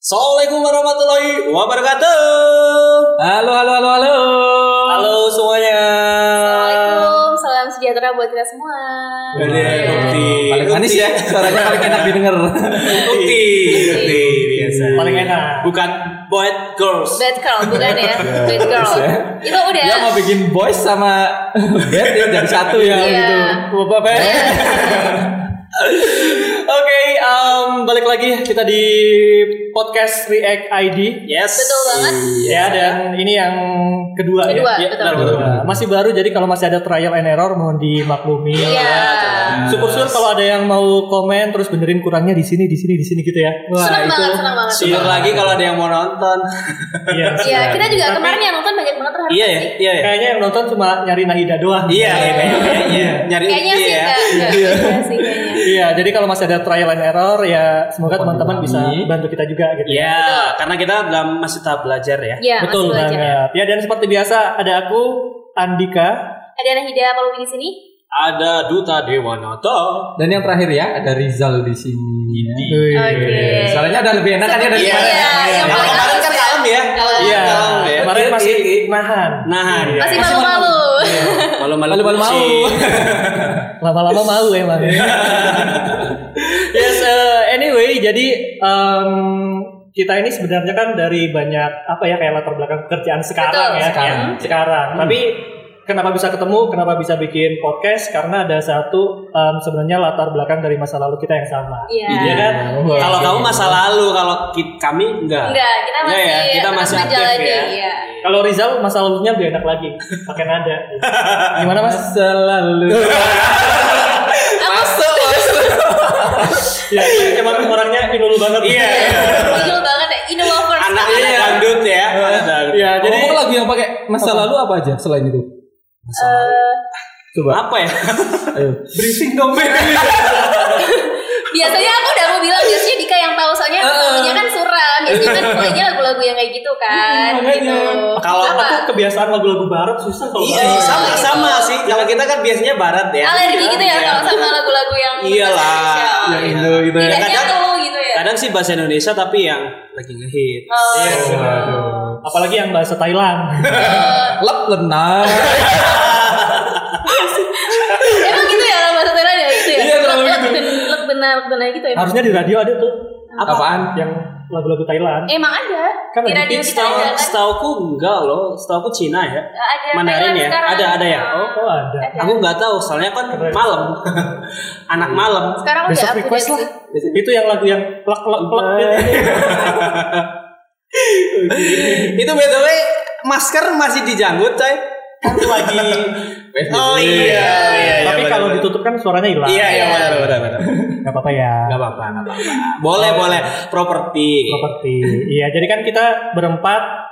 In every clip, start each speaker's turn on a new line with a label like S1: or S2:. S1: Assalamualaikum warahmatullahi wabarakatuh.
S2: Halo, halo, halo, halo.
S1: Halo semuanya.
S3: Assalamualaikum, Um, salam sejahtera buat kita semua.
S1: Dede, Ukti.
S2: Paling manis ya, suaranya paling enak didengar.
S1: Ukti, Ukti biasa.
S4: Paling enak.
S1: Bukan bad girls.
S3: Bad girl, bukan ya?
S1: Iya,
S3: Bad girl. Itu udah.
S2: Dia mau bikin voice sama bed ya jam satu ya
S3: Iya.
S2: gitu.
S4: Bapak Pe.
S1: Oke, um,
S4: Balik lagi kita di podcast React ID.
S1: yes. Iya.
S3: Betul banget.
S4: Ya dan ini yang kedua,
S3: Iya. Kedua,
S4: ya. Iya,
S3: betul.
S4: benar, betul. Masih baru jadi kalau masih ada trial and error mohon dimaklumi.
S3: Iya.
S4: Syukur-syukur kalau ada yang mau komen terus benerin kurangnya di sini, di sini, di sini gitu ya.
S3: Senang banget, senang banget.
S1: Syukur lagi kalau ada yang mau nonton.
S4: Iya.
S3: Iya, kita juga kemarin yang nonton banyak banget terhadap
S1: iya ya,
S3: sih.
S1: iya ya.
S4: Kayaknya yang nonton cuma nyari Nahida doang.
S1: Iya, iya, iya, iya. Nyari
S3: Kayaknya
S1: Ukti
S3: sih
S1: ya.
S3: enggak. enggak. Iya sih kayaknya.
S4: Iya, jadi kalau masih ada trial and error ya semoga teman-teman bisa bantu kita juga gitu.
S1: Iya, karena kita dalam masih tahap belajar ya.
S3: Iya,
S4: Betul
S3: masuk aja.
S4: banget. Ya dan seperti biasa ada aku Andika.
S3: Ada anak Hida kalau di sini.
S1: Ada Duta Dewanata.
S2: Dan yang terakhir ya ada Rizal di sini. ya.
S1: Iya.
S3: Oke.
S2: Suaranya udah lebih enak kan ya dari
S3: Iya,
S2: kemarin.
S3: iya, yang
S1: Kalau
S3: paling
S1: kemarin kan kalem ya.
S3: Kalem.
S1: Iya,
S4: Iya,
S1: kalem ya. Iya.
S4: kemarin masih nahan.
S1: Nahan. ya.
S3: Masih malu-malu.
S1: Malu-malu
S2: Malu-malu mau.
S1: kucing.
S4: Lama-lama mau emang.
S1: Iya.
S4: yes, eh, anyway, jadi em, kita ini sebenarnya kan dari banyak apa ya kayak latar belakang pekerjaan sekarang
S3: Betul,
S4: ya,
S2: sekarang.
S4: ya, sekarang.
S1: Hmm.
S4: Tapi kenapa bisa ketemu, kenapa bisa bikin podcast? Karena ada satu em, sebenarnya latar belakang dari masa lalu kita yang sama.
S3: Iya.
S4: Iya kan?
S2: Wah,
S1: Kalau
S2: oke.
S1: kamu masa lalu, kalau ki- kami enggak.
S3: Enggak, kita
S1: Enggak
S3: masih
S1: ya, kita
S3: tetap
S1: masih aktif
S3: menjalani,
S1: ya.
S3: Iya.
S4: Kalau Rizal masa lalunya lebih enak lagi, pakai nada.
S2: Iya.
S4: Gimana mas?
S2: masa lalu.
S3: Aku
S4: Ya, emang orangnya inul banget.
S1: Iya.
S3: gigil banget ya, Indo lovers.
S1: Anaknya
S3: Iya.
S1: yang dangdut ya. anak dangdut.
S4: Iya, jadi
S2: Jadi lagu yang pakai masa lalu apa aja selain itu?
S3: Eh,
S2: Coba.
S1: Apa ya? Iya,
S2: Ayo.
S1: Briefing dong,
S3: biasanya aku udah mau bilang biasanya Dika yang tahu soalnya lagunya kan suram biasanya kan pokoknya lagu-lagu yang kayak gitu
S2: Iya,
S3: kan
S2: makanya.
S3: gitu
S1: Kalau
S3: Apa?
S4: aku kebiasaan lagu-lagu barat susah kalau
S1: Iya,
S4: barat.
S1: sama
S3: gitu.
S1: sama sih. Kalau kita kan biasanya barat ya.
S3: alergi gitu ya
S1: Iya.
S3: kalau sama lagu-lagu yang
S1: Iyalah.
S3: Indonesia.
S2: Yang Indo gitu ya.
S3: tidak
S1: Kadang-
S3: nyatu gitu ya
S1: Kadang sih bahasa Indonesia tapi yang lagi ngehit.
S3: Oh.
S2: Waduh.
S4: Apalagi yang bahasa Thailand.
S2: Lep lenang.
S3: emang gitu ya orang bahasa Thailand ya gitu ya
S2: Iya, kenapa
S3: Lek-
S2: gitu?
S3: lek- lek benar lek benar gitu ya
S4: Harusnya di radio ada tuh
S2: Apaan?
S4: yang lagu-lagu Thailand.
S3: emang ada
S4: Kan
S3: di
S4: ada
S3: radio kita
S1: Setahu
S3: ada kan
S1: setauku enggak loh. Setauku Cina ya.
S3: ada
S1: Mandarin
S3: Thailand
S1: ya.
S3: sekarang. Iya.
S1: Ada ada ya. Oh.
S4: Oh ada.
S1: Aku nggak tahu, soalnya kan
S4: Keren.
S1: malam, anak malam.
S3: sekarang udah
S4: Besok
S3: update
S4: request lah.
S3: sih.
S4: Itu yang lagu yang plak plak plak
S1: Iya,
S4: gitu.
S1: Itu btw masker masih dijanggut, coy. Aku lagi. oh iya. iya,
S4: Tapi
S1: iya,
S4: kalau
S1: benar,
S4: ditutup kan suaranya
S1: benar.
S4: hilang.
S1: Iya iya benar benar benar.
S4: Gak apa-apa ya.
S1: Gak apa-apa, gak apa-apa. Boleh boleh. Properti.
S4: Properti. Iya, jadi kan kita berempat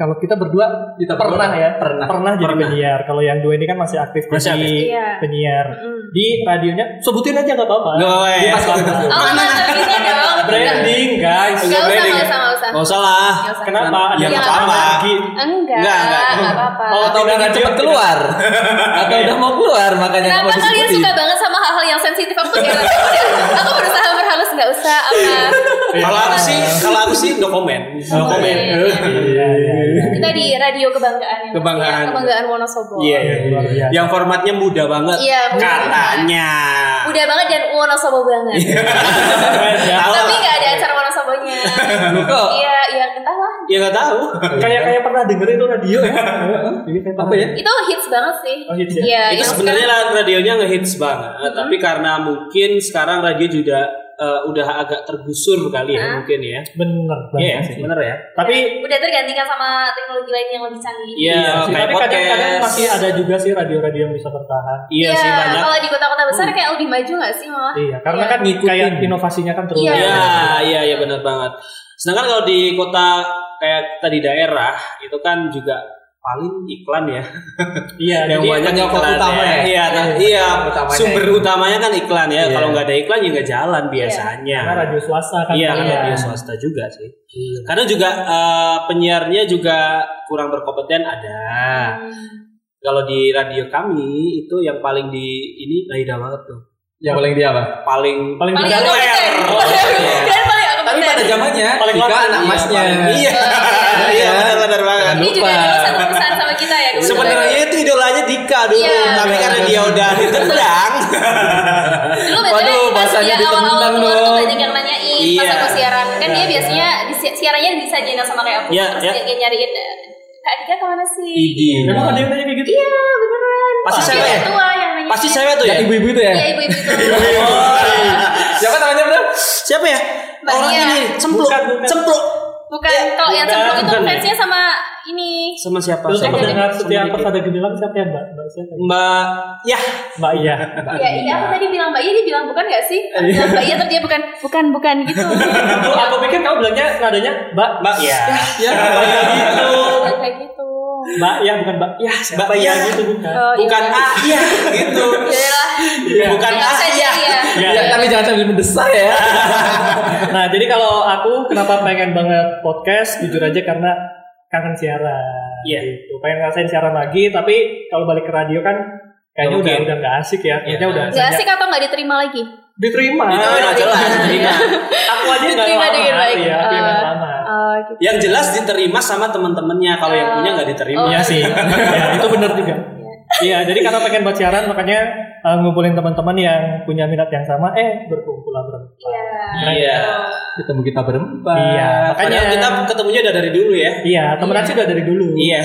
S4: kalau kita berdua
S2: Kita
S4: pernah
S2: berdua.
S4: ya, pernah pernah jadi
S1: Pernah.
S4: penyiar. Kalau yang dua ini kan masih aktif
S1: Masih
S4: jadi
S1: aktif.
S3: Iya.
S4: penyiar.
S3: Mm.
S4: Di radionya sebutin aja nggak apa-apa.
S1: Gak apa-apa ya.
S4: Pas banget.
S3: oh nggak nggak bisa dong
S4: Branding guys.
S3: oh, nggak usah
S1: branding
S3: nggak
S1: ya?
S3: usah nggak usah
S1: Gak usah lah.
S3: Nggak usah.
S4: Kenapa?
S1: Ya,
S4: Ada
S3: nggak
S4: masalah
S1: apa-apa.
S4: lagi?
S3: Enggak,
S1: Enggak, enggak.
S3: enggak apa-apa.
S4: Oh,
S2: Atau udah nggak cepet keluar Atau udah mau keluar Makanya
S3: Kenapa
S2: kamu
S3: kalian
S2: disebutin
S3: suka banget sama hal-hal yang sensitif? Aku tuh kayak aku berusaha berhalus nggak usah apa.
S1: Kalau aku sih, kalau aku sih dokumen, dokumen.
S4: Iya, iya, iya.
S3: Kita di radio kebanggaan yang
S1: Kebanggaan.
S3: ya, kebanggaan Wonosobo.
S1: Iya, iya,
S4: Luar
S1: iya.
S4: biasa.
S1: Yang formatnya muda banget.
S3: Iya, muda
S1: Katanya.
S3: Udah banget dan Wonosobo banget.
S4: Keren ya.
S1: Iya, Tahu
S3: Tapi
S1: lah.
S3: nggak ada acara Wonosobonya.
S2: Kok?
S3: Iya, ya entahlah.
S1: Ya nggak tahu.
S4: Kayak kayak pernah dengerin itu radio ya. Iya, kayak
S2: Apa
S4: pernah.
S2: ya
S3: Itu hits banget sih.
S4: Oh, hits ya?
S3: Iya,
S1: itu
S3: yang
S1: sebenarnya lah radionya ngehits banget tapi karena mungkin sekarang radio juga eh, udah agak tergusur kali ya mungkin ya
S4: Bener
S1: iya ya
S4: banget. sih.
S1: bener ya
S4: Tapi
S3: sekarang udah tergantikan sama teknologi lain yang lebih canggih.
S1: iya
S4: Iya sih,
S1: kayak
S4: tapi kadang-kadang
S1: podcast
S4: masih ada juga sih radio-radio yang bisa bertahan.
S1: iya sih banyak
S3: Kalau di kota-kota besar kayak lebih maju nggak sih malah?
S4: Iya, karena
S3: Iya.
S4: kan kayak inovasinya kan terus.
S3: Iya.
S1: iya iya iya bener banget sedangkan kalau di kota kayak kita di daerah itu kan juga paling iklan ya
S4: Iya,
S1: yang
S4: jadi-
S1: banyak
S2: penyokong
S1: iklan
S2: utama ya?
S1: iya nah,
S2: Iya,
S1: iya
S2: penyokong utamanya
S1: sumber
S2: itu.
S1: utamanya kan iklan ya
S2: Iya.
S1: kalau nggak ada iklan juga jalan biasanya
S4: karena radio swasta kan.
S1: Iya kan
S3: Iya.
S1: radio swasta juga sih. Karena juga eh, penyiarnya juga kurang berkompeten ada.
S3: Hmm.
S1: Kalau di radio kami itu yang paling di ini Naida banget tuh.
S2: Yang Ya, paling dia apa
S1: Paling
S4: Paling
S3: Paling
S4: benar.
S3: aku
S1: Iya.
S3: keren. Dan paling aku
S2: Tapi pada
S3: keren.
S2: zamannya masnya.
S1: Iya. Iya, benar-benar banget.
S3: Ini juga
S2: Lupa.
S3: dulu satu perusahaan sama kita ya. kebetulan.
S1: Sebenarnya itu idolanya Dika dulu,
S3: Iya.
S1: tapi karena dia udah ditendang.
S3: Dulu BTW
S2: Waduh,
S3: pas
S2: bahasanya
S3: dia awal-awal
S2: ditendang
S3: keluar tuh
S2: dong.
S3: banyak yang nanyain pas
S1: Iya.
S3: aku siaran. Kan dia biasanya di, si- siarannya di Sajina sama kayak aku.
S1: Iya,
S3: Terus
S1: iya.
S3: dia kayak nyariin, eh, Kak Dika kemana sih?
S1: Idi.
S4: Emang ada yang nanya kayak gitu?
S3: Iya beneran.
S1: Pasti
S3: Dia
S1: cewek ya?
S3: yang tua yang nanya.
S1: Pasti cewek tuh ya?
S2: Yang ibu-ibu itu ya?
S3: Iya ibu-ibu itu.
S2: Siapa namanya bro?
S1: Siapa ya?
S3: Mbak
S1: Orang
S3: Nia.
S1: ini cempluk,
S4: Bukan, bukan.
S1: cempluk.
S3: Bukan kalau yang
S4: bukan,
S3: sebelum itu
S1: bukan ya?
S3: fansnya sama ini.
S1: Sama siapa?
S4: Terus
S1: Sama-
S4: aku dengar setiap
S1: sama
S4: pas
S1: Diki.
S4: ada gendelang siapa ya mbak? Mbak siapa? ya?
S1: Mbak Yah.
S4: Mbak iya.
S3: Iya, iya aku tadi bilang Mbak Iya, dia bilang bukan gak sih? Nah, Mbak Iya terus dia bukan, bukan, bukan gitu.
S4: aku, aku pikir kamu bilangnya nadanya mbak.
S1: Mbak Yah.
S2: Ya.
S1: Gitu.
S3: Bukan kayak gitu.
S4: Mbak iya bukan mbak. Iya siapa
S1: Mbak iya.
S4: ya gitu bukan.
S3: Oh, iya,
S1: Bukan
S3: iya.
S1: A Yah gitu.
S3: Yaelah.
S1: Bukan
S3: Nggak
S1: A
S3: usah
S1: Yah.
S3: jadi ya.
S4: Iya.
S2: Ya, tapi jangan sambil mendesak ya.
S4: Nah jadi kalau aku kenapa pengen banget podcast jujur aja karena kangen siaran.
S1: Iya.
S4: Gitu. Pengen ngerasain siaran lagi tapi kalau balik ke radio kan kayaknya
S1: Nggak
S4: udah
S1: mungkin.
S4: udah nggak asik ya. Kayaknya
S1: Iya.
S4: udah
S3: Gak
S4: banyak-
S3: asik atau gak diterima lagi?
S4: diterima.
S1: Diterima, jelas, diterima.
S4: Aku aja nggak
S3: Diterima
S4: lama.
S3: dengan baik.
S4: Iya, aku yang nggak lama.
S3: Oh, gitu.
S1: Yang jelas diterima sama teman-temannya. Kalau yang punya nggak
S3: Oh.
S1: diterima.
S4: Iya sih, ya, itu benar juga. Iya, jadi karena pengen buat siaran makanya uh, ngumpulin teman-teman yang punya minat yang sama, eh berkumpul lah berempat.
S3: Iya.
S1: Iya.
S2: Ketemu kita berempat.
S4: Iya, makanya
S1: Padahal kita ketemunya udah dari dulu ya.
S4: iya temenan sih udah dari dulu.
S1: Iya.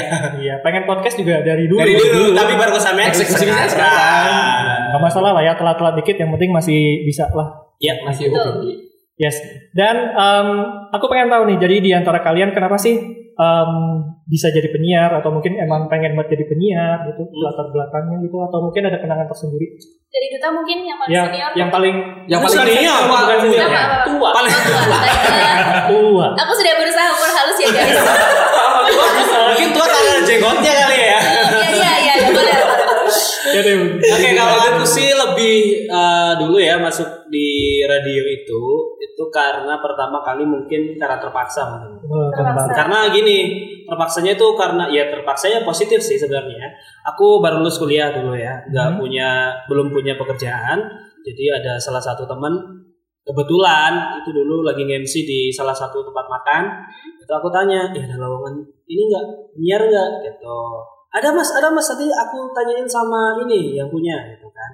S4: Iya, pengen podcast juga dari dulu.
S1: Dari dulu, tapi baru kesamnya
S2: Eksekusinya
S1: sekarang.
S4: Gak masalah lah ya telat-telat dikit, yang penting masih bisa lah.
S1: Iya,
S2: masih
S3: Betul.
S2: oke.
S4: Yes. Dan em, aku pengen tahu nih, jadi di antara kalian kenapa sih em, bisa jadi penyiar atau mungkin emang pengen buat jadi penyiar gitu,
S1: Hmm.
S4: latar belakangnya gitu atau mungkin ada kenangan tersendiri?
S3: Dari Duta mungkin yang paling
S4: Yang
S3: senior.
S4: yang paling
S2: Yang paling
S1: Bukan senior,
S4: tua,
S1: bukan
S4: bukan
S1: senior.
S3: Apa, apa, apa?
S1: Tua. Paling
S3: Tua, tua. Tanya.
S4: tua.
S3: Aku sudah berusaha memperhalus ya guys.
S1: Mungkin tua karena jenggotnya kali ya.
S3: Iya, iya, iya. Boleh.
S4: Jadi,
S1: Oke, kalau aku sih lebih eh, dulu ya masuk di radio itu itu karena pertama kali mungkin karena terpaksa mungkin.
S4: Oh, kembang.
S1: Karena gini, terpaksanya itu karena ya terpaksanya positif sih sebenarnya. Aku baru lulus kuliah dulu ya, nggak
S4: Hmm.
S1: punya belum punya pekerjaan. Jadi ada salah satu teman kebetulan itu dulu lagi ngemsi di salah satu tempat makan. Itu aku tanya, ya ada lowongan ini nggak nyiar nggak gitu. Ada mas, ada mas tadi aku tanyain sama ini yang punya gitu kan.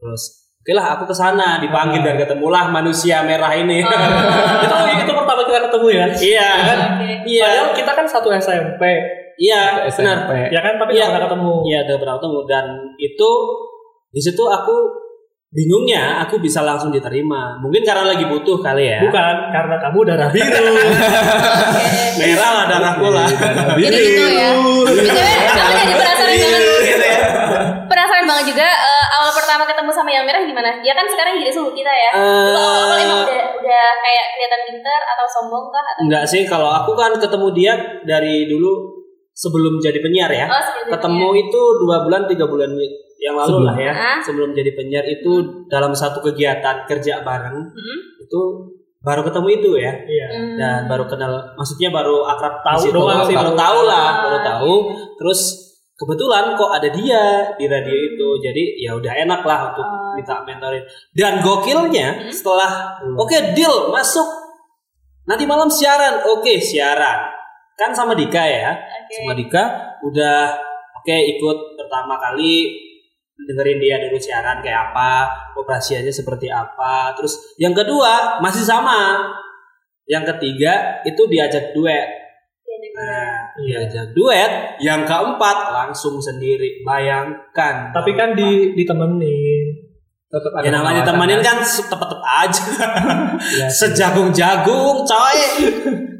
S1: Terus oke lah aku ke sana dipanggil dan ketemulah manusia merah ini.
S4: itu itu pertama kita ketemu ya.
S1: Ah. iya kan?
S3: Oke.
S1: Iya.
S4: Padahal kita kan satu SMP,
S1: Iya, benar.
S2: SMP.
S4: ya kan? Tapi
S1: Iya.
S4: nggak pernah ketemu.
S1: Iya, udah pernah ketemu dan itu di situ aku bingungnya aku bisa langsung diterima. Mungkin karena lagi butuh kali ya.
S4: Bukan karena kamu darah biru.
S1: Merah lah darah
S4: Iya,
S1: bola.
S3: Jadi gitu ya. Btw,
S1: Iya.
S3: aku jadi penasaran banget.
S1: Gitu ya.
S3: Penasaran banget juga eh, awal pertama ketemu sama yang merah gimana? Dia kan sekarang jadi suhu kita ya. Dulu awal-awal emang
S1: Eh.
S3: udah udah kayak kelihatan pinter atau sombong kah atau
S1: Enggak Eh, sih kalau aku kan ketemu dia dari dulu sebelum jadi penyiar ya.
S3: Oh, sebelum jadi
S1: ketemu itu dua bulan tiga bulan yang lalu lah ya.
S3: Ah.
S1: Sebelum jadi penyiar itu dalam satu kegiatan kerja bareng
S3: Hmm?
S1: itu baru ketemu itu ya.
S4: Iya.
S3: Hmm.
S1: dan baru kenal maksudnya baru akrab di
S4: Tahu
S1: situ.
S4: doang sih,
S1: baru
S4: baru
S1: tahu Ah.
S3: tahu.
S1: lah baru tahu terus kebetulan kok ada dia di radio itu jadi ya udah enak lah untuk
S3: Oh.
S1: minta mentorin dan gokilnya setelah oke deal masuk nanti malam siaran oke siaran kan sama Dika ya
S3: Oke.
S1: sama Dika udah oke ikut pertama kali dengerin dia dulu siaran kayak apa operasinya seperti apa terus yang kedua masih sama yang ketiga itu diajak duet
S3: Jadi kayak-
S1: nah diajak duet yang keempat langsung sendiri bayangkan
S4: Tapi kan di ditemenin.
S2: Tetap ada
S1: ya namanya
S2: pengawasan.
S1: temenin kan se- tepet-tepet aja
S4: Iya.
S1: sejagung-jagung coy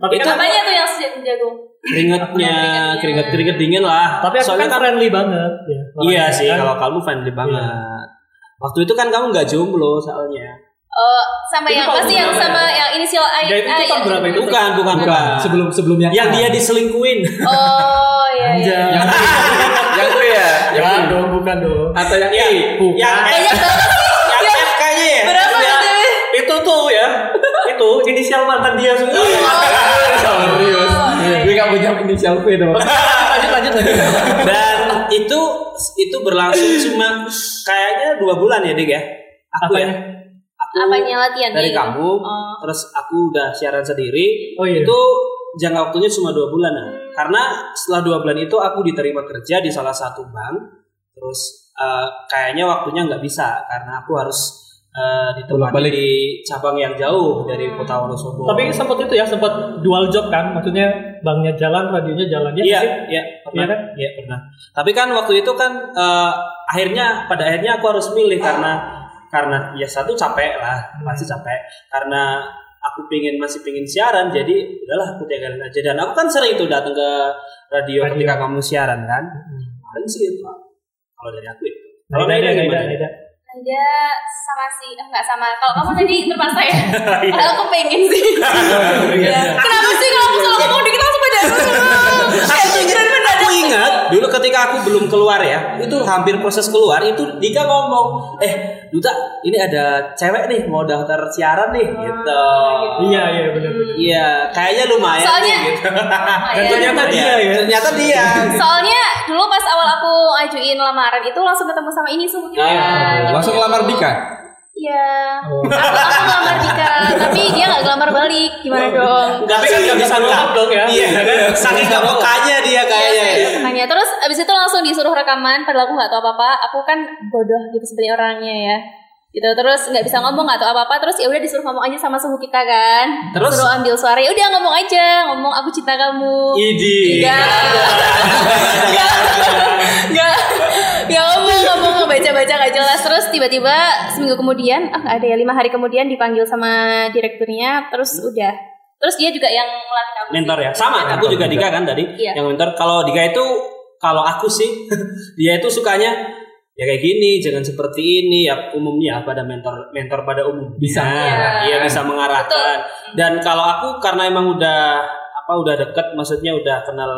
S4: Tapi
S1: Itu-
S4: kan
S3: Apanya tuh yang sejak jagung?
S1: keringetnya keringet keringet dingin lah
S4: tapi aku
S1: Soalnya
S4: kan friendly banget ya.
S1: Iya
S4: Orangnya
S1: sih,
S4: kan.
S1: kalau kamu friendly banget. Waktu itu kan kamu nggak jomblo soalnya.
S3: Oh, sama
S4: Itu
S3: yang
S4: tahun
S3: pasti yang
S4: berapa
S3: sama yang inisial I.
S4: Ya, itu
S3: I-
S4: tahun berapa itu?
S1: Bukan, bukan, bukan.
S2: Bukan, sebelum sebelumnya.
S1: yang dia diselingkuin.
S3: Oh, iya. iya.
S4: Anjay.
S2: yang yang itu ya, yang
S4: Ya
S2: itu.
S4: dong, bukan dong.
S2: atau yang
S1: Iya,
S2: I.
S4: bukan.
S1: yang F,
S3: Banyak banget.
S1: yang F kayaknya ya.
S3: Berapa
S1: Iya.
S3: BTW?
S4: Itu tuh ya. itu inisial mantan dia semua.
S3: Iya.
S2: Serius. Iya. Gue gak punya inisial V dong.
S4: lanjut lanjut lanjut.
S1: Dan itu itu berlangsung cuma kayaknya dua bulan ya, Dik ya. Aku ya.
S4: Apanya?
S1: Aku
S3: Oh, Apanya latihan
S1: dari kamu,
S3: Oh.
S1: terus aku udah siaran sendiri.
S4: Oh, iya.
S1: Itu jangka waktunya cuma dua bulan nah. Karena setelah dua bulan itu aku diterima kerja di salah satu bank. Terus eh, kayaknya waktunya nggak bisa karena aku harus eh, ditemani
S2: Bolak-balik.
S1: di cabang yang jauh dari Kota Wonosobo.
S4: Tapi sempat itu ya, sempat dual job kan, maksudnya banknya jalan, radionya jalan ya.
S1: Iya,
S4: sih?
S1: iya, pernah,
S4: Iya kan?
S1: iya, pernah. Tapi kan waktu itu kan eh, akhirnya pada akhirnya aku harus milih karena karena ya satu capek lah,
S4: Hmm.
S1: masih capek. Karena aku pengen masih pengen siaran, jadi udahlah aku tinggalin aja. Dan aku kan sering itu datang ke radio,
S4: Radio. Hmm.
S1: ketika kamu siaran kan. Paling sih itu kalau dari aku itu. Kalau
S4: Beda,
S1: Naida
S4: beda,
S1: gimana?
S4: beda.
S3: Ada sama sih, eh, nggak sama. Kalau kamu tadi terpaksa ya. Kalau aku pengen sih. Ya. Kenapa sih kalau aku selalu ngomong dikit langsung pada aku ngomong? Kayak
S1: Aku ingat,
S3: pikiran Eh, mendadak.
S1: aku ingat dulu ketika aku belum keluar ya, itu hampir proses keluar itu Dika ngomong, eh Duta ini ada cewek nih mau daftar siaran nih
S3: Ah,
S1: gitu.
S4: Iya, iya, benar.
S1: Iya, kayaknya lumayan.
S3: Soalnya-
S1: nih, gitu.
S3: Dan
S4: ternyata
S1: dia,
S4: dia ya.
S1: ternyata dia.
S3: Soalnya dulu pas awal aku ngajuin lamaran itu langsung ketemu sama ini Gitu. semua. Nah,
S2: Langsung lamar Dika.
S3: Iya. Aku, aku ngelamar Dika, tapi dia nggak ngelamar balik. Gimana dong?
S1: Gak bisa nggak bisa
S4: follow
S1: nolak
S4: up dong ya.
S1: Iya, kan? saking gak pekanya dia kayaknya.
S3: Iya, saya tanya. Terus abis itu langsung disuruh rekaman, padahal aku nggak tahu apa-apa. Aku kan bodoh gitu sebenarnya orangnya ya. Gitu terus nggak bisa ngomong nggak tahu apa-apa. Terus ya udah disuruh ngomong aja sama suhu kita kan.
S1: Terus?
S3: suruh ambil suara. Ya udah ngomong aja, ngomong aku cinta kamu.
S1: Idi.
S3: Enggak. Enggak. Enggak. Ya ngomong ngomong ngebaca-baca nggak jelas terus tiba-tiba seminggu kemudian ah nggak ada ya lima hari kemudian dipanggil sama direkturnya terus
S2: Hmm.
S3: udah terus dia juga yang ngelatih aku
S1: Mentor ya, sama. Aku juga Dika kan tadi
S3: Iya.
S1: yang mentor. Kalau Dika itu, kalau aku sih, dia itu sukanya ya kayak gini, jangan seperti ini. Ya umumnya pada mentor, mentor pada umum
S2: Bisa.
S1: Iya bisa mengarahkan. Dan kalau aku karena emang udah apa udah deket, maksudnya udah kenal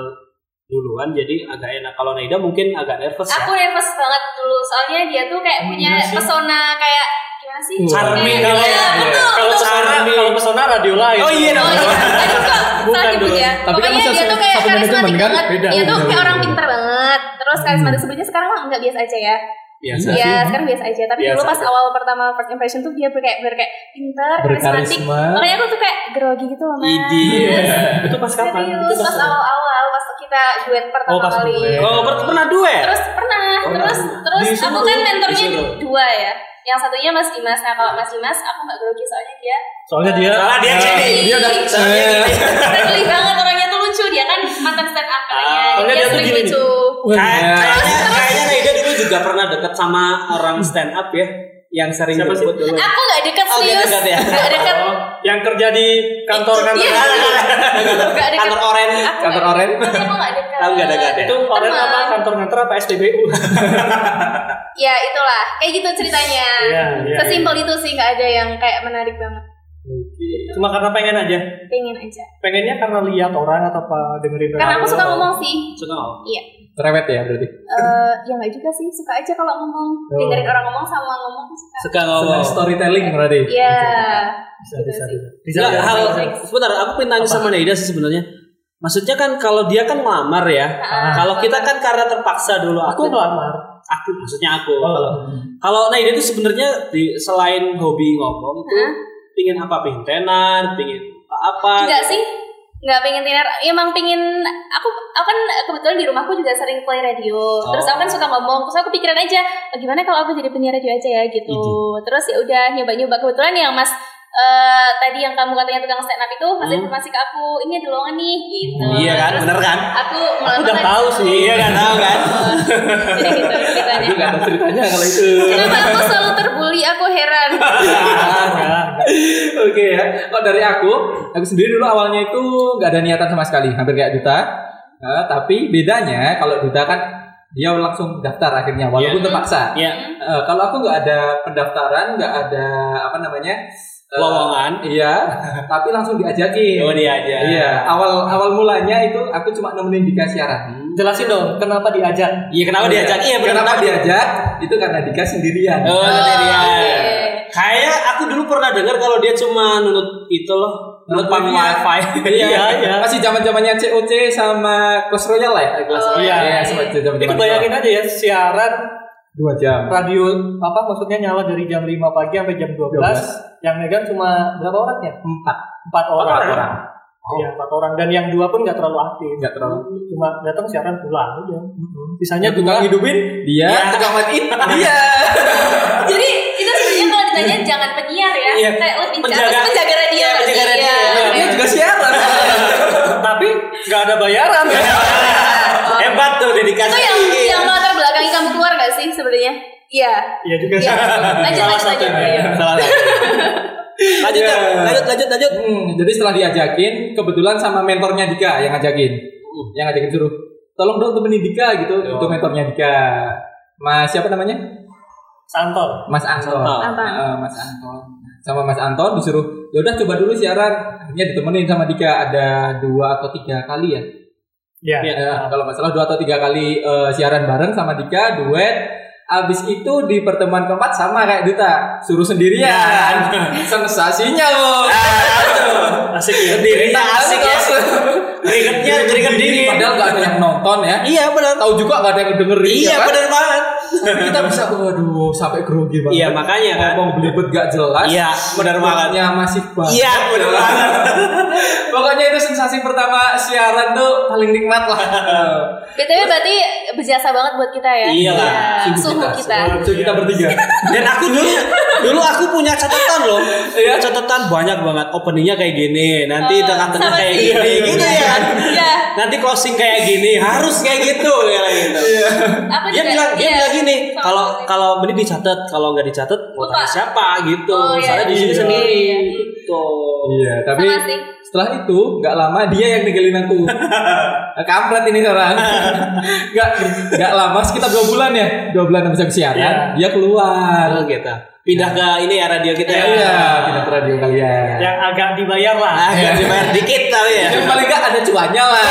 S1: duluan, jadi agak enak. Kalau Naida mungkin agak nervous ya.
S3: Aku nervous banget dulu soalnya dia tuh kayak
S2: Hmm,
S3: punya
S4: Iya sih.
S3: pesona kayak gimana sih?
S1: Charming
S2: ya.
S3: Kayak-
S1: kalau-
S3: Iya, betul.
S4: Kalau pesona, kalau pesona radio lain.
S1: Oh iya
S3: Oh
S1: dong.
S3: iya, aduh kok
S4: Bukan
S3: salah nyebut
S4: dulu.
S3: ya.
S2: ya. Tapi kan
S3: Pokoknya
S2: bisa
S3: dia tuh kayak
S2: satu manajemen
S3: karismatik
S2: kan?
S3: banget.
S2: Beda,
S3: dia
S2: beda,
S3: tuh kayak
S2: beda,
S3: orang
S2: beda.
S3: pintar banget. Terus karismatik sebelumnya sekarang mah nggak biasa aja ya.
S2: Biasa
S3: Iya, sekarang biasa aja. Tapi dulu
S1: Biasa
S3: pas
S1: aja.
S3: awal pertama first impression tuh dia kayak ber kayak pintar, karismatik.
S2: Berkarisma.
S3: Makanya aku tuh kayak grogi gitu loh, Mas.
S1: Idi. Iya.
S4: Itu pas kapan? Itu
S3: Serius, pas
S4: kapan?
S3: awal-awal pas kita duet pertama
S4: Oh, pas
S3: kali.
S4: duet.
S1: Oh, per- pernah duet.
S3: Terus pernah, terus terus aku
S1: Disuruh.
S3: kan mentornya
S1: Disuruh.
S3: dua ya. Yang satunya Mas Dimas. Nah, kalau Mas Dimas aku nggak grogi soalnya dia
S4: Soalnya dia Iya.
S1: Soalnya Eh, dia gini.
S3: Ih,
S2: Dia udah
S3: friendly banget orangnya tuh lucu dia kan mantan stand up katanya.
S1: Ah,
S3: Jadi
S1: soalnya
S3: dia
S1: dia tuh
S3: sering
S1: gini
S3: lucu.
S1: Kayak-
S2: Iya.
S1: Kayaknya kayaknya Naida dulu juga pernah deket sama orang stand up ya, yang sering
S4: Siapa sih? Ah.
S1: disebut dulu.
S3: Aku nggak
S1: Oh,
S3: deket
S1: nggak
S3: serius.
S1: deket ya?
S3: Nggak deket.
S4: Oh. yang kerja di kantor-kantor
S3: Iya. Nggak deket.
S1: Kantor oren.
S3: Aku
S2: Kantor
S3: nggak-
S2: oren.
S3: Tapi aku nggak deket.
S1: Aku nggak deket ya?
S4: itu orang
S3: Teman.
S4: apa kantor-kantor apa SPBU
S3: Ya itulah. Kayak gitu ceritanya.
S4: Iya, iya,
S3: Sesimpel itu sih nggak ada yang kayak menarik banget.
S4: cuma karena pengen aja
S3: Pengen aja.
S4: pengennya karena lihat orang atau apa dengerin
S3: Karena aku
S4: radio
S3: suka
S4: atau-
S3: ngomong sih.
S1: Suka nggak?
S3: Iya.
S2: Cerewet ya berarti.
S3: Eh, ya nggak juga sih. Suka aja kalau ngomong. Dengerin orang ngomong sama ngomong tuh suka.
S1: Suka
S2: Senang
S1: ngomong.
S2: storytelling berarti.
S3: Iya. Gitu
S4: bisa bisa bisa. bisa
S1: Nggak,
S4: bisa.
S1: hal sebentar aku pengen tanya sama Naida sih sebenarnya. Maksudnya kan kalau dia kan ngelamar ya.
S4: Ah.
S1: Kalau kita kan karena terpaksa dulu
S4: aku
S1: aku
S4: ngelamar
S1: aku maksudnya aku.
S4: oh.
S1: Kalau Naida itu sebenarnya di selain hobi ngomong itu pingin apa? Pingin tenar, pingin apa?
S3: Enggak sih Enggak pengen tenar Emang pengen Aku aku kan kebetulan di rumahku juga sering play radio Terus aku kan suka ngomong Terus aku pikiran aja "Oh, Gimana kalau aku jadi penyiar radio aja ya gitu Terus ya udah nyoba-nyoba Kebetulan yang mas eh, Tadi yang kamu katanya tukang stand up itu Mas informasi ke aku Ini ada lowongan nih gitu
S1: Hmm. Iya kan,
S3: Terus
S1: bener kan?
S3: Aku
S4: aku udah
S3: melakukan
S4: tahu sih
S1: Iya kan tahu kan?
S3: Jadi gitu ceritanya.
S2: Aku nggak ada ceritanya kalau itu.
S3: Kenapa aku selalu terbully Aku heran
S2: Oke ya. Oh dari aku, aku sendiri dulu awalnya itu nggak ada niatan sama sekali, hampir kayak duta. Nah, tapi bedanya kalau duta kan dia langsung daftar akhirnya, walaupun
S1: Iya.
S2: terpaksa.
S1: Iya.
S2: Eh, kalau aku nggak ada pendaftaran, nggak ada apa namanya eh,
S1: Lowongan.
S2: Iya. tapi langsung diajakin.
S1: Oh dia aja.
S2: Iya. Awal awal mulanya itu aku cuma nemenin Dika siaran.
S4: jelasin dong kenapa diajak
S1: Iya kenapa diajak? Iya benar.
S2: Kenapa diajak? Itu karena Dika sendirian.
S1: Oh,
S3: Oh,
S1: sendirian.
S3: oke.
S1: Kayaknya aku dulu pernah dengar kalau dia cuma nunut itu loh, nunut pakai
S2: Iya.
S1: wifi.
S4: Iya, iya.
S2: Masih zaman zamannya COC sama Clash Royale lah ya. Clash
S3: Oh,
S2: Royale.
S3: iya.
S2: Iya, semacam zaman
S4: itu bayangin aja ya siaran
S2: dua jam
S4: radio apa maksudnya nyala dari jam 5 pagi sampai jam 12,
S2: 12.
S4: yang megang cuma berapa orang ya?
S2: empat
S4: Empat orang.
S2: empat orang
S4: Iya, empat orang dan yang dua pun nggak terlalu aktif.
S2: nggak terlalu
S4: Cuma datang siaran pulang udah.
S2: hanya
S4: Sisanya
S2: tukang
S4: dua
S2: hidupin dia
S1: Ya.
S2: Iya, tukang matiin dia
S3: Jadi itu sebenarnya kalau ditanya jangan penyiar ya,
S1: Iya.
S3: kayak lebih ke
S1: Penjaga.
S3: atas penjaga radio.
S1: penjaga
S3: Iya.
S1: radio.
S2: dia juga siaran
S4: tapi nggak ada bayaran.
S1: Iya.
S3: Oh.
S1: Hebat tuh dedikasi.
S3: Itu yang
S1: Iya.
S3: yang latar belakangi kamu keluar gak sih sebenarnya? Iya.
S4: Iya juga
S3: Iya.
S4: sih.
S3: Lanjut
S1: Salah ya.
S3: lanjut lanjut.
S1: satunya.
S3: Iya.
S2: salah
S1: Lanjut,
S2: Iya.
S1: Kak. lanjut, lanjut, lanjut.
S2: Hmm, jadi setelah diajakin, kebetulan sama mentornya Dika yang ngajakin, yang ngajakin suruh, tolong dong temenin Dika gitu,
S1: Yo.
S2: itu mentornya Dika. Mas siapa namanya?
S4: Santor.
S2: Mas Anton.
S1: Anton.
S2: Eh, Mas Anton. Sama Mas Anton disuruh, ya udah coba dulu siaran. Akhirnya ditemenin sama Dika ada dua atau tiga kali ya.
S4: Iya.
S1: Iya.
S2: Eh, kalau nggak salah dua atau tiga kali eh, siaran bareng sama Dika duet. Abis itu di pertemuan keempat sama kayak Duta, suruh sendirian.
S1: Ya.
S2: Sensasinya loh.
S4: Asik
S1: Ah,
S4: ya.
S1: Sendiri tak
S2: Iya,
S1: asik ya. Iya, Keringetnya keringet dingin.
S2: Padahal nggak ada yang nonton ya.
S1: Iya benar.
S2: Tahu juga nggak ada yang dengerin.
S1: Iya
S2: ya kan?
S1: benar banget.
S2: Kita bisa, waduh, sampai grogi banget.
S1: Iya makanya kan.
S2: Ngomong belibet gak jelas.
S1: Iya benar banget.
S2: Bentuknya masih banget.
S1: Iya benar banget.
S2: Pokoknya itu sensasi pertama siaran tuh paling nikmat lah.
S3: BTW berarti berjasa banget buat kita ya.
S1: Iyalah,
S3: Iya, Suhu kita.
S2: Suhu kita bertiga.
S1: Dan aku dulu dulu aku punya catatan loh. Iya. Catatan banyak banget. Openingnya kayak gini. Nanti
S3: Oh,
S1: tengah-tengah
S3: sama
S1: kayak
S3: sih.
S1: gini. Gitu ya kan.
S3: Iya.
S1: Nanti closing kayak gini. Harus kayak gitu ya gitu.
S3: Aku
S1: Dia
S3: juga-
S1: bilang dia
S3: iya.
S1: bilang gini,
S3: Sama
S1: kalau
S3: sih.
S1: kalau ini dicatat, kalau nggak dicatat mau
S3: Lupa.
S1: tanya siapa gitu.
S3: Oh, iya.
S1: Soalnya di sini
S4: Iya.
S1: sendiri
S3: Iya.
S1: gitu.
S2: Iya, tapi
S3: Sama sih.
S2: setelah itu nggak lama dia yang ninggalin aku. Nah, Kampret ini orang. Nggak nggak lama sekitar dua bulan ya, dua bulan habis aku siaran, dia
S1: Halo
S2: keluar.
S1: kita. gitu. Pindah ke ini ya radio kita ya.
S2: Iya, pindah ke radio kalian.
S4: Yang agak dibayar lah.
S1: Agak Ah, dibayar dikit tapi ya.
S2: Yang paling nggak ada cuannya lah.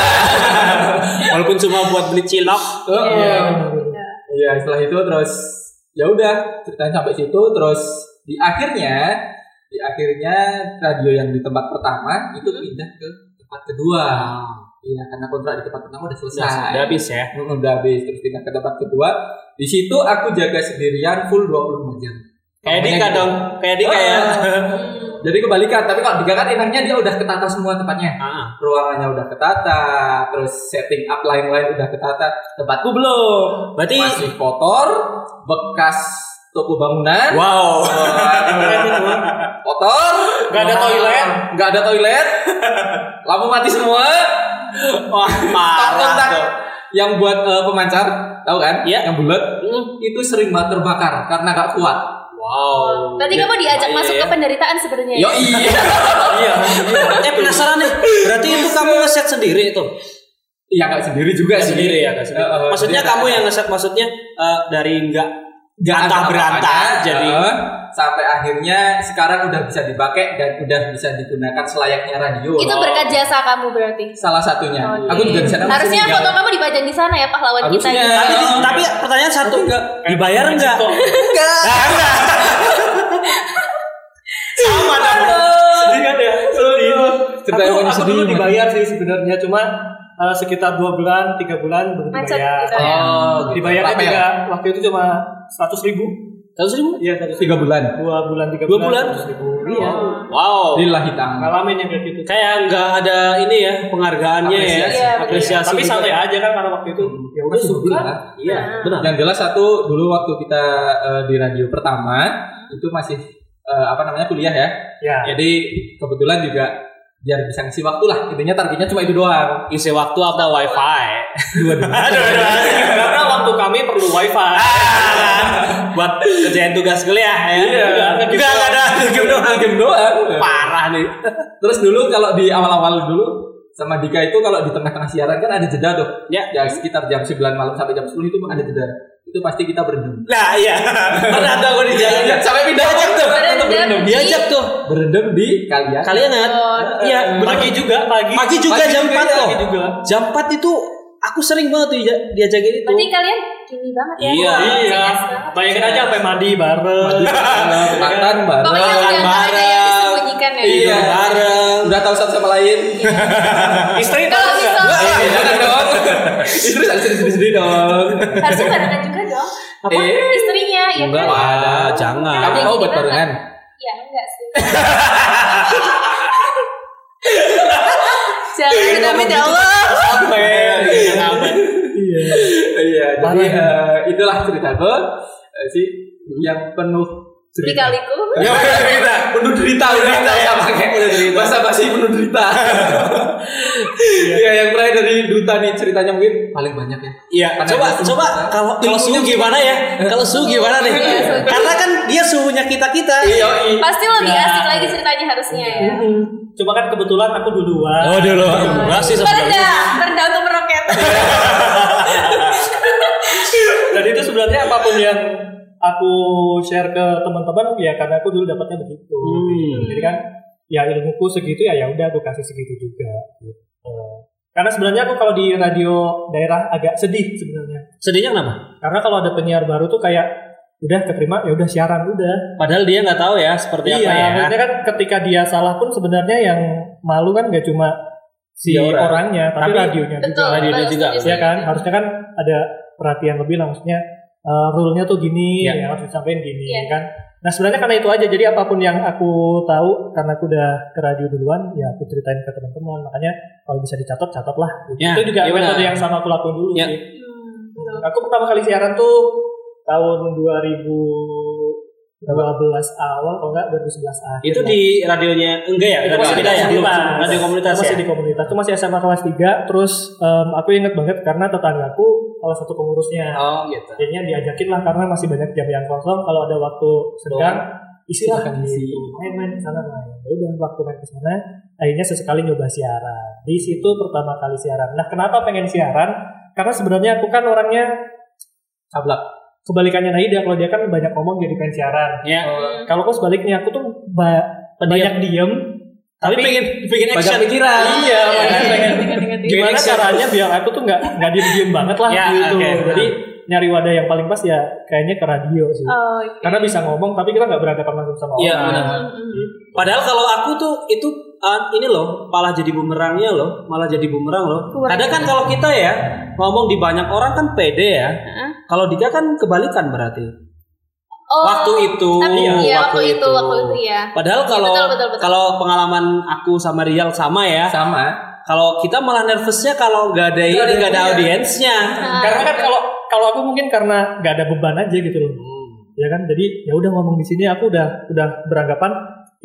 S1: Walaupun cuma buat beli cilok.
S2: Oh,
S3: Iya.
S2: Iya, setelah itu terus ya udah ceritanya sampai situ terus di akhirnya di akhirnya radio yang di tempat pertama itu pindah ke tempat kedua. Iya, karena kontrak di tempat pertama udah selesai.
S1: Nah, udah habis ya.
S2: Mm, udah habis terus pindah ke tempat kedua. Di situ aku jaga sendirian full 24 jam.
S1: Kayak
S2: Namanya
S1: Dika
S2: gitu.
S1: dong. Kayak Dika ya.
S2: Jadi kebalikan, tapi kalau Dika kan enaknya dia udah ketata semua tempatnya.
S1: Ah.
S2: Ruangannya udah ketata, terus setting up lain-lain udah ketata. Tempatku belum.
S1: Berarti
S2: masih kotor, bekas toko bangunan,
S1: wow.
S2: kotor,
S4: Nggak ada toilet.
S2: nggak ada toilet, lampu mati semua,
S1: Wah,
S2: kontak
S1: parah.
S2: Ah, yang buat eh, pemancar, tahu kan?
S1: Iya.
S2: Yang bulat
S1: tuh. Hmm.
S2: itu sering banget terbakar karena nggak kuat.
S1: Wow.
S3: Berarti kamu diajak masuk ke penderitaan sebenarnya. ya?
S2: Yo iya,
S1: Iya. Eh penasaran nih. Berarti itu kamu ngeset sendiri itu?
S2: iya nggak sendiri juga
S1: Nggak
S2: sih.
S1: sendiri ya, nggak sendiri.
S2: Eh, eh,
S1: maksudnya
S2: dia
S1: kamu
S2: nggak-
S1: yang ngeset maksudnya eh, dari enggak antah
S2: nggak ada
S1: berantah
S2: apa-apanya,
S1: jadi
S2: eh, sampai akhirnya sekarang udah bisa dipakai dan udah bisa digunakan selayaknya radio.
S3: Itu berkat jasa kamu berarti.
S2: salah satunya.
S3: Oke.
S2: Aku juga bisa
S3: Harusnya foto kamu dipajang di sana ya pahlawan kita.
S2: Harusnya.
S3: gitu.
S1: tapi, tapi pertanyaan satu enggak dibayar
S2: Iya.
S1: enggak?
S2: enggak.
S1: Nah, enggak. Sama dong.
S4: Sedih kan ya? Sedih.
S2: Cerita
S4: aku,
S2: yang
S4: aku
S2: sedih,
S4: dulu
S2: Mas.
S4: dibayar sih sebenarnya cuma eh, sekitar 2 bulan, 3 bulan baru
S3: Macet
S4: dibayar.
S3: gitu ya.
S1: Oh,
S4: Dibayar
S2: Berapa Oh, ya?
S4: juga waktu itu cuma 100 ribu.
S1: Seratus ribu?
S4: Iya, 100 ribu.
S2: tiga bulan.
S4: 2 bulan, 3
S1: Dua
S4: bulan.
S1: bulan?
S4: 100 ribu. Iya.
S3: gitu.
S1: Wow.
S2: Lillahi ta'ala.
S4: Ngalamin yang kayak gitu.
S1: Kayak enggak ada ini ya penghargaannya ya.
S2: Apresiasi.
S3: Iya, betul.
S1: Apresiasi.
S4: Tapi
S1: gitu.
S4: santai aja kan karena waktu itu ya udah suka.
S2: kan?
S1: Iya, benar.
S2: Yang jelas satu dulu waktu kita eh, di radio pertama itu masih eh, apa namanya kuliah ya.
S4: Ya.
S2: Jadi kebetulan juga biar bisa ngisi waktu lah. Intinya targetnya cuma itu doang.
S1: Isi waktu apa wifi? Aduh, aduh, aduh.
S4: Karena waktu kami perlu wifi.
S1: Buat kerjain tugas kuliah ya.
S4: Iya.
S1: Enggak, enggak ada. Game doang.
S2: Game doang.
S1: Parah nih.
S2: Terus dulu kalau di awal-awal dulu sama Dika itu kalau di tengah-tengah siaran kan ada jeda tuh.
S1: Ya.
S2: sekitar jam 9 malam sampai jam 10 itu ada jeda. Itu pasti kita berendam.
S1: Nah, iya. Pernah tuh aku di jalan.
S2: sampai pindah aja tuh.
S3: Berendam.
S2: Berendam.
S1: Diajak tuh.
S2: Berendam di kalian.
S1: Kalian ingat? Iya, bener.
S4: Hmm. Pagi juga, pagi.
S1: Pagi juga
S2: Pagi
S1: jam
S2: juga,
S1: 4 loh.
S4: Pagi juga.
S1: Jam 4 itu aku sering banget tuh dija- diajakin itu.
S3: Berarti kalian gini banget ya.
S1: Iya.
S4: Iya.
S3: Serius banget.
S4: Bayangin aja sampai mandi bareng.
S2: Mantan bareng.
S3: Pokoknya yang
S1: bareng.
S3: ada yang disembunyikan ya.
S1: Tidur
S2: Iya.
S1: bareng.
S2: Udah tahu satu sama lain.
S1: Iya.
S2: Iya, kan,
S4: Istri
S3: Kalau
S1: Eh,
S4: tahu nggak?
S3: misal eh,
S2: Jangan dong. Istri harus sendiri sendiri dong.
S3: harusnya barengan juga dong.
S1: Apa?
S2: Eh,
S3: istrinya ya
S1: Enggak
S3: kan?
S2: lah.
S1: lah,
S2: kamu
S1: jangan.
S2: mau buat barengan?
S3: Ya enggak sih. Jangan amit ya Allah.
S1: iya,
S4: Iya.
S2: Iya, jadi
S4: Parah.
S2: eh, itulah ceritaku eh, sih yang penuh
S3: Di
S2: cerita.
S3: kaliku.
S1: iya.
S2: Ya, penuh derita, penuh derita, udah derita ya, pakai bahasa basi penuh derita. Iya, yang terakhir dari Duta nih ceritanya mungkin paling banyak ya.
S1: Iya,
S2: Karena
S1: coba
S2: dia
S1: coba
S2: suhu.
S1: kalau kalau suhu gimana ya?
S4: gitu.
S1: Kalau suhu gimana nih?
S3: Iya, suhu.
S1: Karena kan dia suhunya kita-kita.
S2: Iya, iya.
S3: Pasti lebih
S4: Ya.
S3: asik lagi ceritanya harusnya ya.
S4: Mm-mm. Cuma kan kebetulan aku duluan.
S1: Oh, dulu
S4: Iya.
S1: enggak sih sebenarnya.
S3: Terendah, terendah untuk meroket.
S4: Dan itu sebenarnya apapun yang aku share ke teman-teman ya karena aku dulu dapatnya begitu.
S1: Hmm.
S4: Jadi kan ya ilmuku segitu ya ya udah aku kasih segitu juga. gitu. Karena sebenarnya aku kalau di radio daerah agak sedih sebenarnya.
S1: Sedihnya kenapa?
S4: Karena kalau ada penyiar baru tuh kayak udah keterima ya udah siaran udah.
S1: Padahal dia nggak tahu ya seperti
S4: Iya,
S1: apa ya.
S4: maksudnya kan ketika dia salah pun sebenarnya yang malu kan gak cuma si
S1: Dia orang.
S4: orangnya, tapi,
S1: Tapi-
S4: radionya
S3: Betul.
S4: juga.
S1: radio
S3: betul,
S1: juga,
S3: setuju,
S4: Iya kan,
S3: setuju.
S4: harusnya kan ada perhatian lebih lah maksudnya eh, rule-nya tuh gini,
S1: Iya.
S4: yang harus disampaikan gini
S3: Iya.
S4: kan. Nah sebenarnya karena itu aja, jadi apapun yang aku tahu karena aku udah ke radio duluan, ya aku ceritain ke teman-teman. Makanya kalau bisa dicatat, catatlah. gitu.
S1: Ya,
S4: itu juga
S1: iya
S4: metode
S1: benar.
S4: yang sama aku lakuin dulu
S1: Ya.
S4: sih.
S3: Hmm, betul.
S4: Aku pertama kali siaran tuh tahun 2012 awal kalau enggak 2011 akhir.
S1: Itu
S4: lah.
S1: di radionya enggak ya?
S4: itu
S1: Radio
S4: masih di
S1: kita ya? Belum.
S4: komunitas.
S1: Radio komunitas
S4: Itu Iya, masih
S1: ya.
S4: di komunitas. Itu masih SMA kelas 3 terus em, aku inget banget karena tetanggaku salah satu pengurusnya.
S2: Oh, gitu.
S4: Akhirnya diajakin lah karena masih banyak jam yang kosong kalau ada waktu sedang isilah
S2: Silakan isi.
S4: main-main ke sana main. Ya udah waktu main ke sana akhirnya sesekali nyoba siaran. Di situ pertama kali siaran. Nah, kenapa pengen siaran? Karena sebenarnya aku kan orangnya
S2: Sablak.
S4: kebalikannya Naida kalau dia kan banyak ngomong jadi pengen siaran.
S1: Ya.
S3: Hmm.
S4: Kalau aku sebaliknya aku tuh ba- banyak diem
S1: Tapi
S4: tapi
S1: pengen pengen
S2: Banyak
S1: action.
S2: pikiran.
S4: Iya, makanya pengen
S1: Pengen
S4: gimana
S1: action.
S4: caranya biar aku tuh nggak nggak diem diem banget lah
S1: Ya,
S4: gitu.
S1: oke.
S4: Jadi nyari wadah yang paling pas ya kayaknya ke radio sih.
S3: Oh, iya.
S4: Karena bisa ngomong tapi kita nggak berhadapan langsung sama
S1: Iya,
S4: orang.
S1: benar.
S3: Hmm.
S1: Padahal kalau aku tuh itu uh, ini loh, malah jadi bumerangnya loh, malah jadi bumerang loh.
S3: Kurang.
S1: Kadang kan kalau kita ya ngomong di banyak orang kan pede ya.
S3: Heeh.
S1: Kalau Dika kan kebalikan berarti.
S3: Oh,
S1: waktu itu,
S3: tapi iya, waktu, itu, waktu itu ya.
S1: Padahal
S3: Iya,
S1: kalau
S3: betul, betul, betul.
S1: kalau pengalaman aku sama Rial sama ya.
S2: Sama.
S1: Kalau kita malah nervousnya kalau nggak ada ini
S2: Nggak ada
S1: nggak ada
S3: Iya.
S2: ini.
S1: audiensnya.
S3: Nah,
S4: Karena kan kalau kalau aku mungkin karena nggak ada beban aja gitu loh.
S1: Hmm.
S4: Ya kan jadi ya udah ngomong di sini aku udah udah beranggapan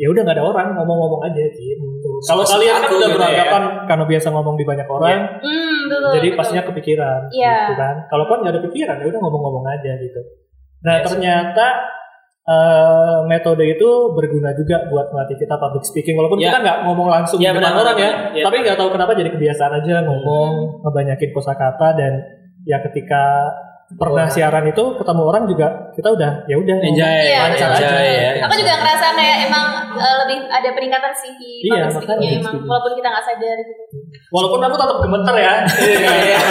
S4: ya udah nggak ada orang ngomong-ngomong aja gitu. Kalau
S1: Sama
S4: kalian kan
S1: aku gitu
S4: udah
S1: ya.
S4: beranggapan karena biasa ngomong di banyak orang,
S3: hmm, betul,
S4: jadi
S3: betul.
S4: pastinya kepikiran
S3: Iya.
S4: gitu kan kalau kan nggak ada pikiran ya udah ngomong-ngomong aja gitu nah
S1: Yes.
S4: ternyata eh, metode itu berguna juga buat melatih kita public speaking walaupun
S1: Iya.
S4: kita nggak ngomong langsung
S1: Iya,
S4: di depan
S1: benar,
S4: orang ya
S1: iya.
S4: tapi nggak tahu kenapa jadi kebiasaan aja ngomong ngebanyakin kosakata dan ya ketika pernah
S2: Orang.
S4: siaran itu ketemu orang juga kita udah ya udah ngomong.
S1: Enjoy,
S3: Iya,
S1: lancar
S4: betul.
S1: aja ya.
S3: Aku
S4: gitu.
S3: juga ngerasa kayak emang eh, lebih ada peningkatan sih di
S4: Iya,
S3: public speaking-nya
S4: makanya.
S3: emang walaupun kita nggak sadar gitu.
S4: walaupun aku tetap gemeter ya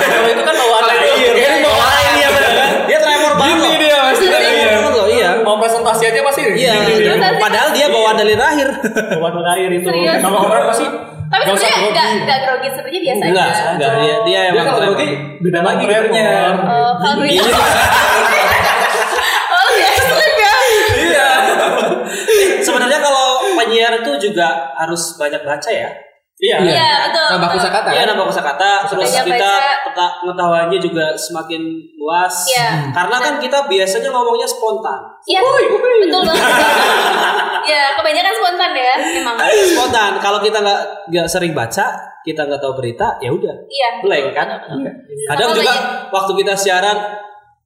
S4: kalau itu kan bawaan
S1: Iya,
S2: Kalau itu
S4: air
S1: Dia mau lain ya benar. Dia tremor banget.
S2: Gini
S1: loh.
S2: dia pasti.
S1: Dia
S2: Iya.
S1: tremor loh, Iya.
S4: mau presentasi aja pasti
S1: Iya. Padahal dia bawaan dari lahir.
S4: bawaan air itu
S3: Serius.
S4: kalau orang pasti
S3: Tapi
S4: Nggak usah
S3: sebenarnya nggak
S4: grogi. iya,
S3: nggak grogi sebenarnya biasa
S1: Enggak,
S3: aja.
S1: enggak dia dia
S2: Dia
S1: emang
S2: kalau
S1: tremor.
S2: berarti beda lagi
S4: Tremor.
S2: gelarnya.
S3: Oh, kalau gue
S1: Iya.
S3: Oh, ya, juga.
S2: Iya.
S1: Eh, Sebenarnya kalau penyiar itu juga harus banyak baca ya.
S4: iya
S3: Iya, betul.
S2: Tambah
S3: betul.
S2: kosakata.
S1: Iya nambah kosakata, terus
S3: Banyak
S1: kita
S3: baca.
S1: peta pengetahuannya juga semakin luas.
S3: Iya.
S1: Hmm. Karena kan kita biasanya ngomongnya spontan.
S3: Iya, betul banget. Iya, kebanyakan spontan ya, emang.
S1: Spontan. Kalau kita nggak nggak sering baca, kita nggak tahu berita, ya udah.
S3: Iya.
S1: Blank kan? Kadang
S3: Sama
S1: juga
S3: kayak-
S1: waktu kita siaran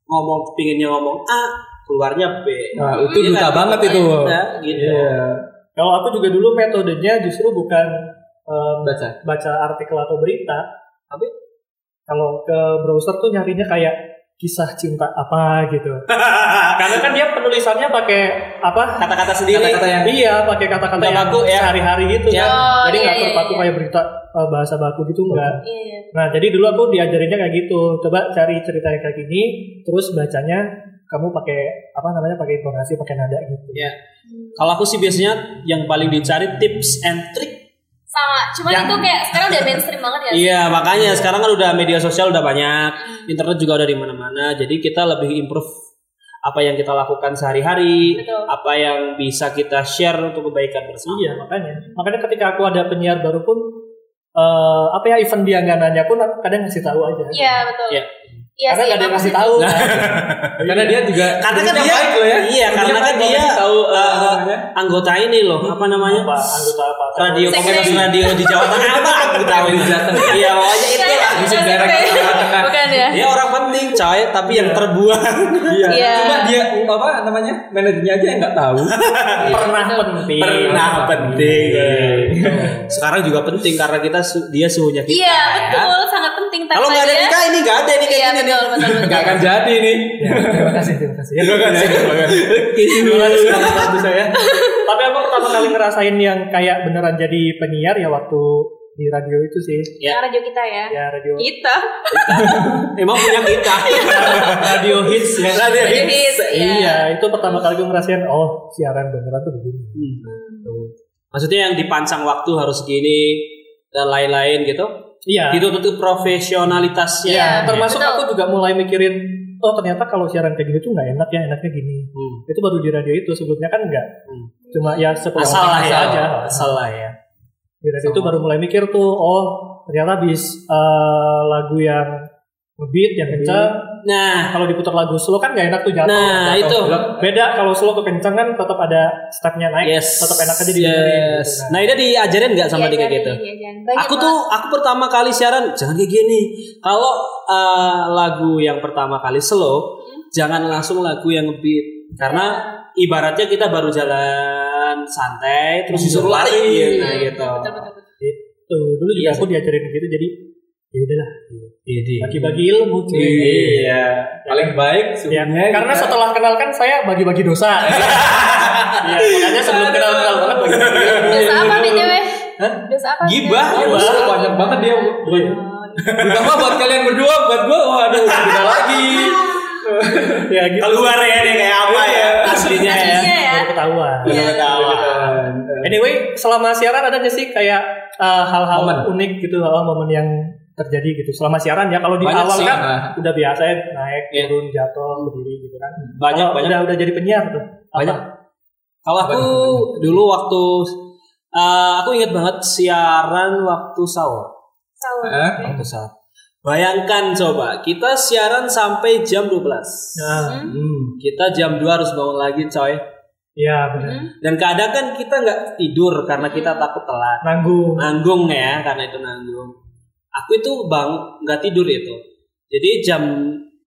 S1: ngomong pinginnya ngomong A, keluarnya B.
S2: Nah, itu duta banget itu.
S1: Nah, gitu.
S2: Iya.
S4: kalau aku juga dulu metodenya justru bukan em,
S2: Baca.
S1: Iya.
S4: baca artikel atau berita
S1: Tapi?
S4: kalau ke browser tuh nyarinya kayak kisah cinta apa gitu karena kan dia penulisannya pakai apa
S1: Kata-kata sendiri.
S2: Kata-kata yang
S4: iya pakai kata-kata
S1: Nggak
S4: yang
S1: baku ya.
S4: sehari-hari gitu
S1: Ya.
S4: kan.
S3: Oh,
S4: jadi
S3: iya,
S4: nggak
S3: iya,
S4: terpaku
S3: iya.
S4: kayak berita eh, bahasa baku gitu enggak
S3: Iya, iya.
S4: nah jadi dulu aku diajarinnya kayak gitu coba cari cerita yang kayak gini terus bacanya kamu pakai apa namanya pakai intonasi pakai nada gitu
S1: Ya. Kalau aku sih biasanya yang paling dicari tips and trick.
S3: Sama, cuman itu kayak sekarang udah mainstream banget ya.
S1: Iya, makanya sekarang kan udah media sosial udah banyak, internet juga udah di mana-mana. Jadi kita lebih improve apa yang kita lakukan sehari-hari,
S3: Betul.
S1: apa yang bisa kita share untuk kebaikan bersama.
S4: Iya makanya. Makanya ketika aku ada penyiar baru pun eh, apa ya event dia nggak nanya pun aku kadang ngasih tahu aja.
S3: Iya betul.
S1: Iya.
S3: Iya
S4: Karena
S3: sih,
S4: nggak ada yang
S3: emang
S4: ngasih
S3: positif.
S4: tahu.
S2: Karena dia juga
S1: Karena kan
S2: sebenarnya
S1: dia-
S2: baik loh ya.
S1: iya, karena kan
S2: baik,
S1: dia,
S2: ngasih tahu eh,
S1: eh,
S2: apa namanya.
S1: Anggota ini loh, apa namanya?
S4: Apa, anggota apa?
S1: Radio
S3: Sekre.
S1: komunitas radio di Jawa Tengah apa? Aku tahu
S2: Di Jawa Tengah.
S1: Iya, pokoknya itu
S3: Iya,
S1: lah.
S2: Bisa
S3: positif.
S2: jarak ke tengah-tengah.
S3: Bukan ya.
S1: Dia orang penting, coy, tapi yang terbuang.
S2: Iya.
S3: Iya.
S2: Cuma dia apa namanya? Manajernya aja yang nggak tahu.
S4: iya. pernah penting.
S1: Pernah penting.
S2: Iya.
S1: Sekarang juga penting karena kita su- dia suhunya kita.
S3: Iya
S1: ya.
S3: betul, sangat penting. Tanpa
S1: Kalau nggak ada
S3: dia-
S1: nikah ini nggak ada ini kayak
S3: Iya
S1: gini nih.
S3: betul betul. betul.
S2: Nggak akan jadi nih.
S4: Ya, terima kasih, terima kasih. Ya,
S1: Terima kasih sudah membantu saya.
S4: Tapi aku pertama kali ngerasain yang kayak beneran jadi penyiar ya waktu di radio itu sih.
S1: Iya.
S3: Yang radio kita ya.
S4: Ya radio.
S3: Kita.
S1: gitu. Emang punya kita.
S3: Iya.
S1: Radio hits ya. Radio
S3: Radio hits, iya.
S4: Iya, itu pertama kali gue ngerasain oh siaran beneran tuh begini.
S1: Hmm. Maksudnya yang dipansang waktu harus gini dan lain-lain gitu.
S4: Iya.
S1: Itu tuh profesionalitasnya. Gitu.
S3: Iya.
S4: termasuk
S3: Betul.
S4: aku juga mulai mikirin oh ternyata kalau siaran kayak gini tuh nggak enak ya enaknya gini
S1: Hmm.
S4: itu baru di radio itu sebelumnya kan nggak
S1: Hmm.
S4: cuma ya sepulang
S1: Asal lah ya.
S4: asal aja
S1: Asal lah ya.
S4: di radio itu baru mulai mikir tuh oh ternyata bis eh, lagu yang ngebeat yang
S1: Hmm.
S4: kencang
S1: Nah,
S4: kalau diputar lagu slow kan nggak enak tuh jatuh
S1: nah
S4: Jatuh.
S1: itu.
S4: beda kalau slow ke kencang kan tetap ada stepnya naik
S1: Yes.
S4: tetap enak aja didengerin
S1: Yes.
S4: gitu kan.
S1: Nah, Ida diajarin nggak sama dia
S3: Iya, Diajarin,
S1: kayak
S3: Iya,
S1: gitu?
S3: diajarin. Banyak
S1: aku
S3: banget.
S1: tuh aku pertama kali siaran jangan kayak gini. Kalau eh, lagu yang pertama kali slow, jangan langsung lagu yang ngebeat karena ibaratnya kita baru jalan santai terus disuruh lari
S3: Iya,
S1: gitu. gitu.
S3: Betul betul betul.
S4: tuh dulu
S1: Iya
S4: juga aku diajarin gitu jadi ya udahlah
S1: Jadi
S4: bagi-bagi ilmu cuy
S2: Iya. Paling baik
S4: Ya,
S2: sebenarnya.
S4: karena
S2: kita-
S4: setelah kenal kan saya bagi-bagi dosa. Iya, makanya sebelum kenal kenal banget bagi-bagi.
S1: Iya,
S3: Dosa apa btw?
S2: Hah?
S3: Dosa apa?
S2: Gibah,
S3: BTW?
S2: gibah. banyak banget dia.
S3: Oh,
S2: Gibah mah buat kalian berdua, buat gua, waduh, beda lagi.
S4: Ya gitu.
S1: keluar ya dia kayak apa
S2: Iya.
S1: ya aslinya ya.
S3: Aslinya ya.
S4: Baru ketahuan.
S1: Baru ketawa.
S4: Anyway, selama siaran ada nggak sih kayak eh, hal-hal
S2: Momen.
S4: unik gitu, hal momen yang terjadi gitu selama siaran ya kalau di
S2: Banyak
S4: awal
S2: sih,
S4: kan
S2: nah.
S4: udah biasa ya naik
S1: Iya.
S4: turun jatuh berdiri gitu kan
S1: Banyak
S4: Kalau
S1: banyak
S4: udah udah jadi penyiar tuh Apa?
S1: Banyak. Kalau aku dulu waktu eh, aku ingat banget siaran waktu sahur.
S3: sahur.
S2: Hah?
S1: Waktu sahur. Bayangkan coba, kita siaran sampai jam 12.
S4: nah
S3: Hmm?
S1: Kita jam 2 harus bangun lagi, coy.
S4: ya benar
S3: Hmm?
S1: Dan kadang kan kita nggak tidur karena kita takut telat.
S4: nanggung
S1: Nanggung ya, karena itu nanggung. Aku itu bang nggak tidur itu. Jadi jam